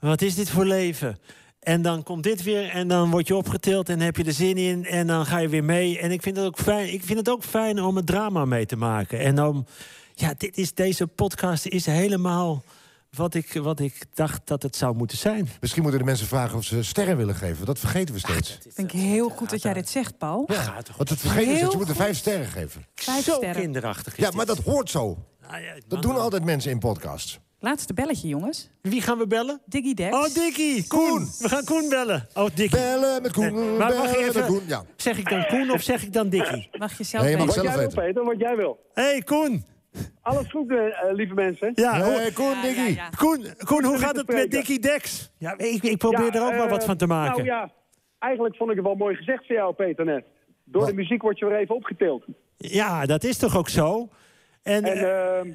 S2: Wat is dit voor leven? En dan komt dit weer en dan word je opgetild en heb je er zin in en dan ga je weer mee. En ik vind het ook fijn, ik vind het ook fijn om het drama mee te maken. En om, ja, dit is, deze podcast is helemaal wat ik, wat ik dacht dat het zou moeten zijn.
S3: Misschien moeten de mensen vragen of ze sterren willen geven. Dat vergeten we steeds.
S1: Ik vind ik heel goed dat jij dit zegt, Paul.
S2: gaat toch
S3: Want dat vergeten we
S1: Heel
S3: steeds. Ze moeten
S1: goed.
S3: vijf sterren geven.
S1: Vijf
S2: Zo
S1: sterren.
S2: kinderachtig is
S3: Ja, maar
S2: dit.
S3: dat hoort zo.
S2: Nou ja, man.
S3: Dat doen altijd mensen in podcasts.
S1: Laatste belletje, jongens.
S2: Wie gaan we bellen?
S1: Diggy Dex.
S2: Oh, Dikkie! Koen! We gaan Koen bellen. Oh, Dikkie.
S3: Bellen met Koen,
S2: Nee, maar mag
S3: bellen
S2: ik
S3: met
S2: even...
S3: Koen. Ja.
S2: Zeg ik dan Koen of zeg ik dan Dikkie?
S1: Mag je zelf
S3: Nee, je mag
S1: weten.
S3: zelf
S7: Jij wil,
S3: weten.
S7: Peter, wat jij wil.
S2: Hé, hey, Koen!
S7: Alles goed, eh, eh, lieve mensen.
S2: Ja,
S3: Hey,
S2: hoor-
S3: Koen,
S1: Ah, oh. Ja, ja,
S3: Diggy.
S1: ja.
S2: Koen, Koen, hoe
S7: jullie
S2: gaat
S7: te
S2: het met
S7: spreken.
S2: Dickie Dex? Ja, eh, ik, ik probeer er ook
S7: maar
S2: maar wat van te maken.
S7: Nou ja, eigenlijk vond ik het wel mooi gezegd van jou, Peter, net. Door
S3: Wat?
S7: de muziek word je weer even opgetild.
S2: Ja, dat is toch ook zo? En,
S7: En
S2: eh,
S7: ehm,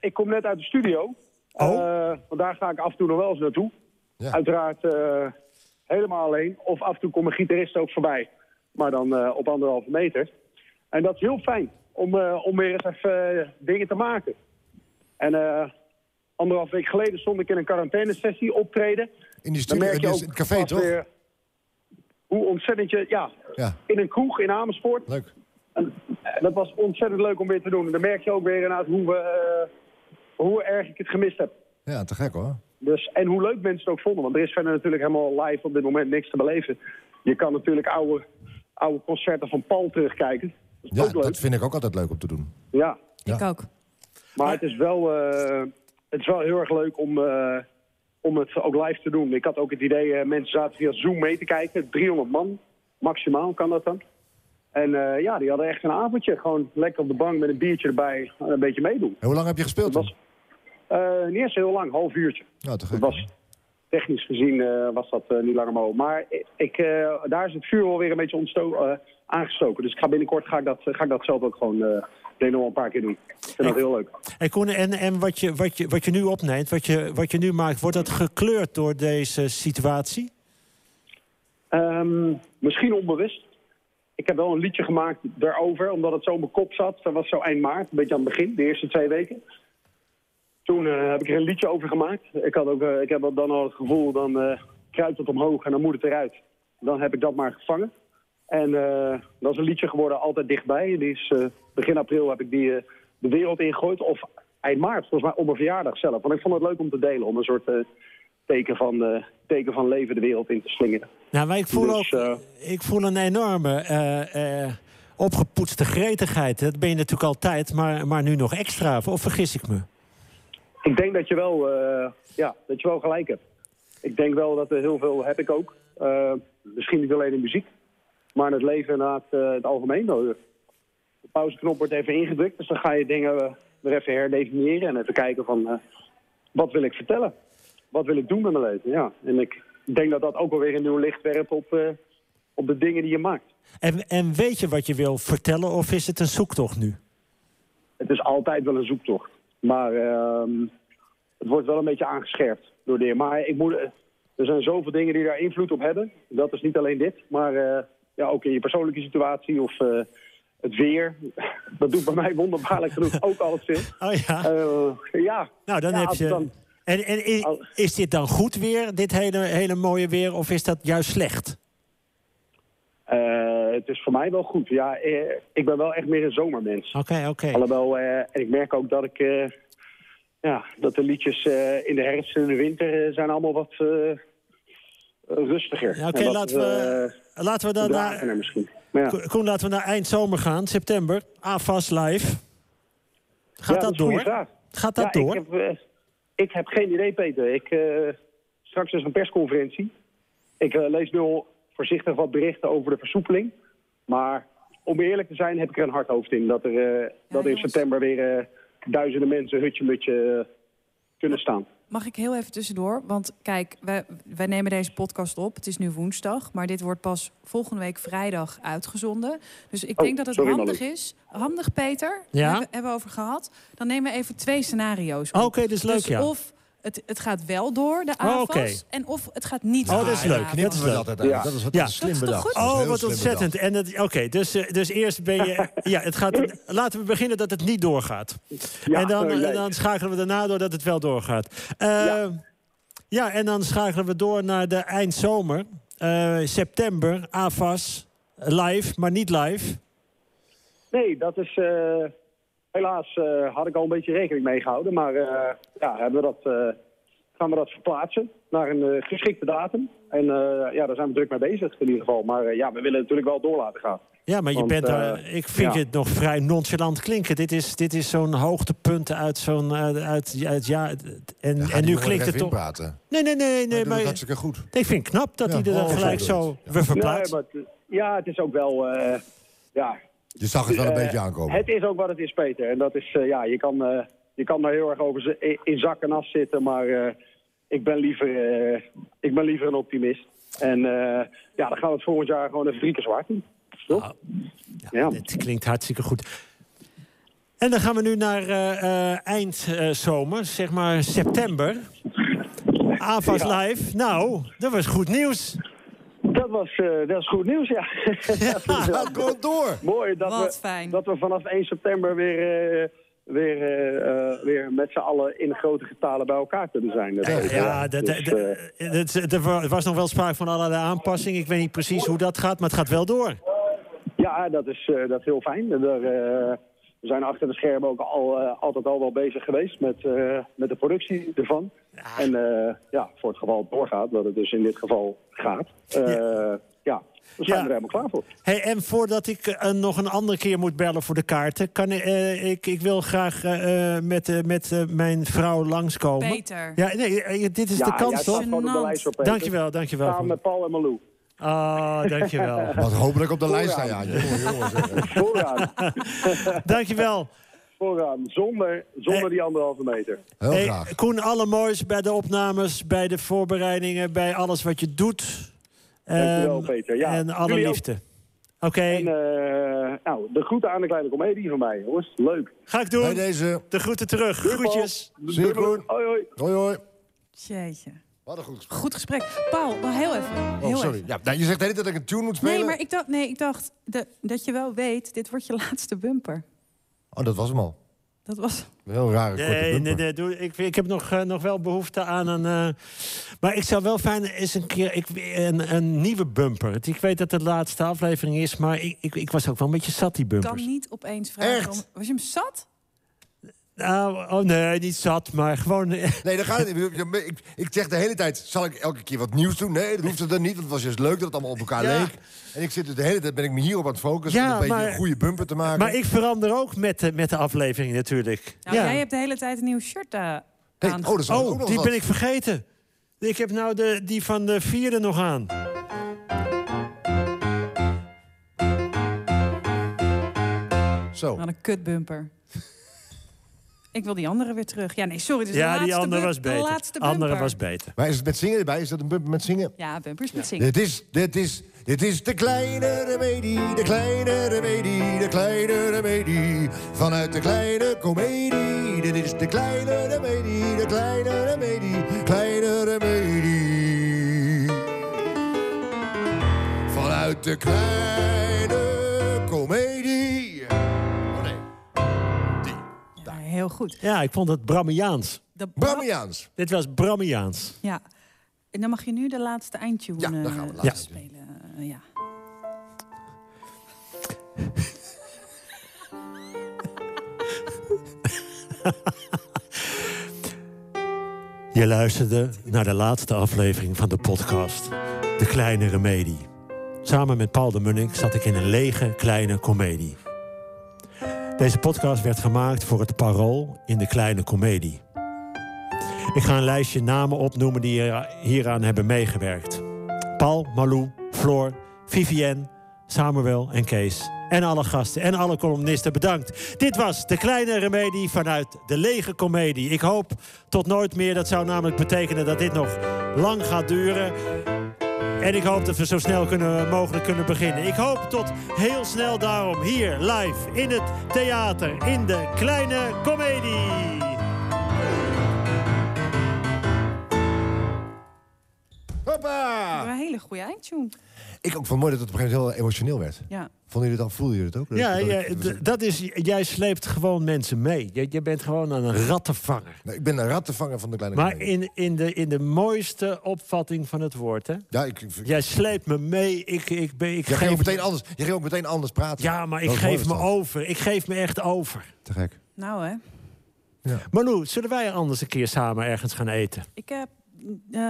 S7: ik kom net uit de studio.
S2: Oh.
S7: Eh, want daar ga ik af en toe nog wel eens naartoe.
S3: Ja.
S7: Uiteraard eh, helemaal alleen. Of af en toe komt een gitarist ook voorbij. Maar dan eh, op anderhalve meter. En dat is heel fijn. Om, eh, om weer eens even eh, dingen te maken. En eh anderhalf week geleden stond ik in een quarantainesessie optreden.
S3: In die
S7: Dan
S3: studio,
S7: merk
S3: in
S7: je ook
S3: het café,
S7: pas
S3: toch?
S7: weer hoe ontzettend je... Ja,
S3: Ja,
S7: in een kroeg in Amersfoort.
S3: leuk.
S7: En, eh, dat was ontzettend leuk om weer te doen. En dan merk je ook weer inderdaad hoe, we, eh, hoe erg ik het gemist heb.
S3: Ja, te gek hoor.
S7: Dus, en hoe leuk mensen het ook vonden. Want er is verder natuurlijk helemaal live op dit moment niks te beleven. Je kan natuurlijk oude, oude concerten van Paul terugkijken. Dat is
S3: Ja,
S7: ook leuk.
S3: dat vind ik ook altijd leuk om te doen.
S7: Ja.
S1: Ik ook.
S7: Maar het is, wel, eh, het is wel heel erg leuk om, eh, om het ook live te doen. Ik had ook het idee, eh, mensen zaten via Zoom mee te kijken. 300 man, maximaal kan dat dan. En eh, ja, die hadden echt een avondje. Gewoon lekker op de bank met een biertje erbij en een beetje meedoen.
S3: En hoe lang heb je gespeeld?
S7: Het was eh, niet eens heel lang, half uurtje.
S3: Nou, te gek.
S7: Het was, technisch gezien eh, was dat eh, niet langer mogelijk. Maar ik, eh, daar is het vuur wel weer een beetje ontsto- eh, aangestoken. Dus ik ga binnenkort ga ik dat, ga ik dat zelf ook gewoon eh, denk nog wel een paar keer doen. Ik vind dat heel leuk.
S2: hey, Koen, en, en wat, je, wat, je, wat je nu opneemt, wat je, wat je nu maakt... wordt dat gekleurd door deze situatie?
S7: Ehm, misschien onbewust. Ik heb wel een liedje gemaakt daarover, omdat het zo in mijn kop zat. Dat was zo eind maart, een beetje aan het begin, de eerste twee weken. Toen eh, heb ik er een liedje over gemaakt. Ik, had ook, eh, ik heb dan al het gevoel, dan eh, kruipt het omhoog en dan moet het eruit. Dan heb ik dat maar gevangen. En eh, dat is een liedje geworden, altijd dichtbij. Die is, eh, begin april heb ik die eh, de wereld ingegooid. Of eind maart, volgens mij, op mijn verjaardag zelf. Want ik vond het leuk om te delen, om een soort eh, teken, van, eh, teken van leven de wereld in te slingeren.
S2: Nou, maar ik voel
S7: Dus,
S2: ook ik voel een enorme eh, eh, opgepoetste gretigheid. Dat ben je natuurlijk altijd, maar, maar nu nog extra. Of, of vergis ik me?
S7: Ik denk dat je wel, eh, ja, dat je wel gelijk hebt. Ik denk wel dat er heel veel heb ik ook. Eh, misschien niet alleen in muziek, maar in het leven inderdaad eh, het algemeen. De pauzeknop wordt even ingedrukt, dus dan ga je dingen eh, weer even herdefiniëren en even kijken van eh, wat wil ik vertellen? Wat wil ik doen met mijn leven? Ja. En ik denk dat dat ook alweer een nieuw licht werpt op, eh, op de dingen die je maakt.
S2: En, en weet je wat je wil vertellen of is het een zoektocht nu?
S7: Het is altijd wel een zoektocht. Maar ehm, het wordt wel een beetje aangescherpt door dingen. Maar ik moet, er zijn zoveel dingen die daar invloed op hebben. Dat is niet alleen dit, maar eh, ja, ook in je persoonlijke situatie of eh, het weer. Dat doet bij mij wonderbaarlijk genoeg ook alles veel.
S2: Oh ja.
S7: Eh, ja.
S2: nou, dan
S7: Ja,
S2: heb
S7: als
S2: je.
S7: het dan- Oh.
S2: En, en i-
S7: Al-
S2: is dit dan goed weer, dit hele, hele mooie weer, of is dat juist slecht?
S7: Eh, het is voor mij wel goed. Ja, eh, ik ben wel echt meer een zomermens.
S2: Oké, oké.
S7: Alhoewel, eh, en ik merk ook dat ik... eh, ja, dat de liedjes eh, in de herfst en in de winter eh, zijn allemaal wat eh, rustiger.
S2: Ja, Oké,
S7: En wat,
S2: laten, we, laten we
S7: eh,
S2: dan naar.
S7: dragener misschien. Maar ja.
S2: Ko- Koen, laten we naar eind zomer gaan, september. AFAS live. Gaat
S7: Ja,
S2: dat,
S7: is een
S2: door?
S7: goede vraag.
S2: Gaat dat
S7: ja,
S2: door?
S7: Ik heb, eh, ik heb geen idee, Peter. Ik, eh, straks is een persconferentie. Ik eh, lees nu al voorzichtig wat berichten over de versoepeling. Maar om eerlijk te zijn heb ik er een hard hoofd in. Dat er eh, dat in
S1: jongens.
S7: september weer eh, duizenden mensen hutje-mutje eh, kunnen staan.
S1: Mag ik heel even tussendoor? Want kijk, wij, wij nemen deze podcast op. Het is nu woensdag, maar dit wordt pas volgende week vrijdag uitgezonden. Dus ik
S7: Oh,
S1: denk dat het
S7: sorry,
S1: handig
S7: Malu.
S1: is. Handig, Peter.
S2: Ja.
S1: Daar hebben, hebben we over gehad. Dan nemen we even twee scenario's op.
S2: Oh, Oké, dat is leuk,
S1: Dus
S2: ja.
S1: of het, het gaat wel door, de
S2: Oh,
S1: AFAS.
S2: oké.
S1: En of het gaat niet
S2: Oh,
S1: door
S2: dat is
S1: de
S2: leuk.
S1: AFAS.
S2: Dat is
S3: Knippen we
S2: leuk.
S3: Ah, dat uiteindelijk.
S7: Ja.
S3: Dat is wat
S2: Ja.
S1: Dat
S3: slim
S1: is toch
S3: bedacht.
S1: goed?
S3: Dat is
S2: Oh,
S3: heel
S2: wat
S3: slim
S2: ontzettend. En dat- Oké, dus, eh, dus eerst ben je... Ja, het gaat, laten we beginnen dat het niet doorgaat.
S7: Ja,
S2: en dan,
S7: eh,
S2: en dan schakelen we daarna door dat het wel doorgaat. Eh, ja.
S7: Ja.
S2: en dan schakelen we door naar de eindzomer. Eh, september, AFAS, live, maar niet live.
S7: Nee, dat is... eh, helaas eh, had ik al een beetje rekening mee gehouden. Maar eh, ja, hebben we dat, eh, gaan we dat verplaatsen naar een eh, geschikte datum. En eh, ja, daar zijn we druk mee bezig in ieder geval. Maar eh, ja, we willen natuurlijk wel door laten gaan.
S2: Ja, maar je
S7: Want,
S2: bent
S7: eh,
S2: daar... Ik vind
S7: ja.
S2: je het nog vrij nonchalant klinken. Dit is, dit is zo'n hoogtepunt uit zo'n... eh, uit, uit, ja, en,
S3: bedacht.
S2: en nu
S3: Ga die jongen
S2: klinkt
S3: er
S2: het
S3: even
S2: toch...
S3: inpraten. Hij
S2: Nee, nee, nee, nee.
S3: doet het
S2: Maar,
S3: hartstikke goed.
S2: ik vind het knap dat
S3: Ja,
S2: hij er dan
S3: oh,
S2: gelijk
S3: zo
S2: zo
S3: doet.
S2: weer verplaatst.
S7: Nee, maar het- ja, het is ook wel... eh, ja,
S3: Je zag het wel een
S7: Eh,
S3: beetje aankomen.
S7: Het is ook wat het is, Peter. En dat is, eh, ja, je kan, eh, je kan daar heel erg over z- in- in zak en as zitten. Maar eh, ik, ben liever, eh, ik ben liever een optimist. En eh, ja, dan gaan we het volgend jaar gewoon even drie keer zwaar doen. Toch?
S1: Nou.
S7: ja.
S2: Het klinkt hartstikke goed. En dan gaan we nu naar eh, eh, eind eh, zomer, zeg maar september. AFAS Live. Nou, dat was goed nieuws.
S7: Dat, was, eh, dat is goed nieuws, ja. Dat is, eh,
S3: Gaat gewoon door.
S7: mooi dat
S1: Wat
S7: we,
S1: fijn.
S7: dat we vanaf 1 september weer, eh, weer, eh, eh, weer met z'n allen in grote getalen bij elkaar kunnen zijn. Dat weet ik wel.
S2: Ja, dat-
S7: Dus,
S2: dat-
S7: eh,
S2: dat- dat- er wa- was nog wel sprake van allerlei aanpassingen. Ik weet niet precies hoe dat gaat, maar het gaat wel door.
S7: Ja, dat is, eh, dat is heel fijn. En daar, eh, we zijn achter de schermen ook al, eh, altijd al wel bezig geweest met, eh, met de productie ervan. En eh, ja, voor het geval het doorgaat, wat het dus in dit geval gaat. eh, ja, we
S2: Ja.
S7: zijn er helemaal klaar voor.
S2: Hey, en voordat ik eh, nog een andere keer moet bellen voor de kaarten... Kan, ik- eh, ik, ik wil graag eh, eh, met, eh, met eh, mijn vrouw langskomen.
S1: Peter.
S2: Ja, nee, eh, dit is
S7: ja,
S2: de kans,
S7: jij staat
S2: toch?
S7: gewoon op de
S1: Gênant.
S7: lijst voor Peter.
S2: Dankjewel, dankjewel.
S7: Samen met Paul en Malou.
S2: Ah, dankjewel.
S3: Wat hopelijk op de lijst staan. Ja, jongen, jongen, zeg.
S7: Vooraan,
S2: dankjewel.
S7: vooraan. Zonder, zonder die anderhalve meter.
S3: Heel
S2: Hey,
S3: graag.
S2: Koen, alle moois bij de opnames, bij de voorbereidingen, bij alles wat je doet.
S7: Dankjewel,
S2: Ehm,
S7: Peter. Ja,
S2: en alle
S7: jullie ook.
S2: liefde. Oké,
S7: En eh, nou, de groeten aan de kleine komedie van mij, jongens. Leuk.
S2: ga ik doen.
S3: Bij deze.
S2: De groeten terug. Groetjes.
S3: Zie je, Koen.
S7: Hoi, hoi.
S3: Hoi, hoi.
S1: Jeetje.
S3: Wat een goed gesprek.
S1: Goed gesprek. Paul, nog heel even.
S3: Oh,
S1: Heel
S3: sorry.
S1: even.
S3: Ja, nou, je zegt de hele tijd dat ik een tune moet spelen.
S1: Nee, maar ik dacht, nee, ik dacht dat, dat je wel weet, dit wordt je laatste bumper.
S3: Oh, dat was hem al.
S1: Dat was...
S3: Heel rare korte
S2: Nee,
S3: bumper.
S2: nee, nee. Doe, ik, ik heb nog, eh, nog wel behoefte aan een. eh, maar ik zou wel fijn eens een keer ik, een, een nieuwe bumper. Het- Ik weet dat het de laatste aflevering is, maar ik, ik, ik was ook wel een beetje zat die
S1: kan
S2: bumpers.
S1: niet opeens vragen.
S3: Echt?
S1: Om... Was je hem zat?
S2: Nou, oh nee, niet zat, maar gewoon. eh,
S3: Nee, daar gaat het niet. Ik bedoel, Ik, ik zeg de hele tijd, zal ik elke keer wat nieuws doen? Nee, dat hoeft het dan niet, want het was juist leuk dat het allemaal op elkaar
S2: Ja.
S3: leek. En ik zit dus de hele tijd, ben ik me hierop aan het focussen...
S2: Ja,
S3: om een beetje
S2: maar-
S3: een goede bumper te maken.
S2: maar ik verander ook met de, met de aflevering natuurlijk.
S1: Nou, Jij hebt de hele tijd een nieuw shirt eh,
S3: Hey,
S1: aan.
S3: oh, dat is ook
S2: Oh,
S3: nog
S2: die
S3: wat.
S2: ben ik vergeten. Ik heb nou de, die van de vierde nog aan.
S1: Dus
S3: Zo.
S1: Wat een kutbumper. ik wil die andere weer terug. Ja, nee, sorry. Dus de
S2: ja,
S1: laatste
S2: die andere
S1: bum-
S2: was
S1: De
S2: beter.
S1: laatste bumper.
S2: Andere was beter.
S3: Maar is het met zingen erbij? Is dat een bumper met zingen?
S1: Ja, bumpers met zingen.
S3: Dit is, dit is, dit is de kleine remedie, de kleine remedie, de kleine remedie. Vanuit de kleine komedie. Dit is de kleine remedie, de kleine remedie, kleine remedie. Vanuit de kleine komedie. Oh nee, die.
S1: Ja, heel goed.
S2: Ja, ik vond het Brammiaans.
S1: De
S3: Brammiaans.
S2: Dit was Brammiaans.
S1: Ja. En dan mag je nu de laatste eindtune
S3: Ja, dan
S1: eh,
S3: gaan we de
S2: Ja.
S3: laatste.
S1: spelen. Eh, ja.
S2: Je luisterde naar de laatste aflevering van de podcast De Kleine Remedie. Samen met Paul de Munnik zat ik in een lege kleine komedie. Deze podcast werd gemaakt voor het parool in de kleine komedie. Ik ga een lijstje namen opnoemen die hier- hieraan hebben meegewerkt. Paul, Malou, Floor, Vivienne, Samuel en Kees. En alle gasten en alle columnisten bedankt. Dit was de kleine remedie vanuit de lege komedie. Ik hoop tot nooit meer. Dat zou namelijk betekenen dat dit nog lang gaat duren. En ik hoop dat we zo snel kunnen, mogelijk kunnen beginnen. Ik hoop tot heel snel daarom hier live in het theater in de kleine komedie.
S1: We hebben
S3: Hoppa!
S1: een hele goede eindtune.
S3: Ik ook vond het mooi dat het op een gegeven moment heel emotioneel werd.
S1: Ja.
S3: Vonden jullie het al? Voelden jullie het ook?
S2: Ja,
S3: Dat-
S2: ja,
S3: dat-
S2: d- dat is, jij sleept gewoon mensen mee. Je, je bent gewoon aan een rattenvanger.
S3: Nou, ik ben een rattenvanger van de kleine
S2: Maar
S3: komedie.
S2: in, in, de, in de mooiste opvatting van het woord, hè?
S3: Ja, ik, ik,
S2: Jij sleept me mee, ik, ik, ben, ik
S3: je ging
S2: geef...
S3: ook meteen anders, je ging ook meteen anders praten.
S2: Ja, maar ik
S3: Dat is mooi,
S2: geef me
S3: is dat.
S2: over. Ik geef me echt over.
S3: Te gek.
S1: Nou hè.
S2: Manu, zullen wij anders een keer samen ergens gaan eten?
S1: Ik heb... eh,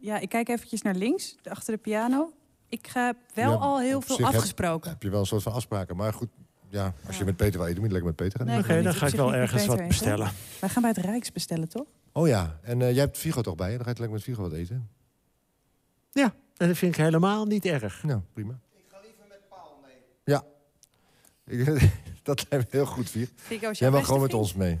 S1: ja, ik kijk eventjes naar links, achter de piano. Ik heb wel
S3: Ja,
S1: al heel
S3: op
S1: veel
S3: zich heb-
S1: afgesproken.
S3: Heb je wel een soort van afspraken. Maar goed, ja, als je met Peter wil eten, moet je lekker met Peter gaan.
S1: Nee,
S2: Oké,
S1: ik ga niet.
S2: dan
S1: Op
S2: ga ik
S1: zich
S2: wel
S1: niet met
S2: ergens
S1: Peter
S2: wat
S1: eten.
S2: bestellen.
S1: Wij gaan bij het Rijks bestellen, toch?
S3: Oh ja, en eh, jij hebt Figo toch bij je? Dan ga je lekker met Figo wat eten.
S2: Ja, en dat vind ik helemaal niet erg.
S3: Nou, prima. Ik ga liever met Paul mee. Ja, Ik- dat lijkt me heel goed, Vier.
S1: Fico is jouw
S3: Jij wil
S1: beste
S3: gewoon met
S1: vriend.
S3: ons mee.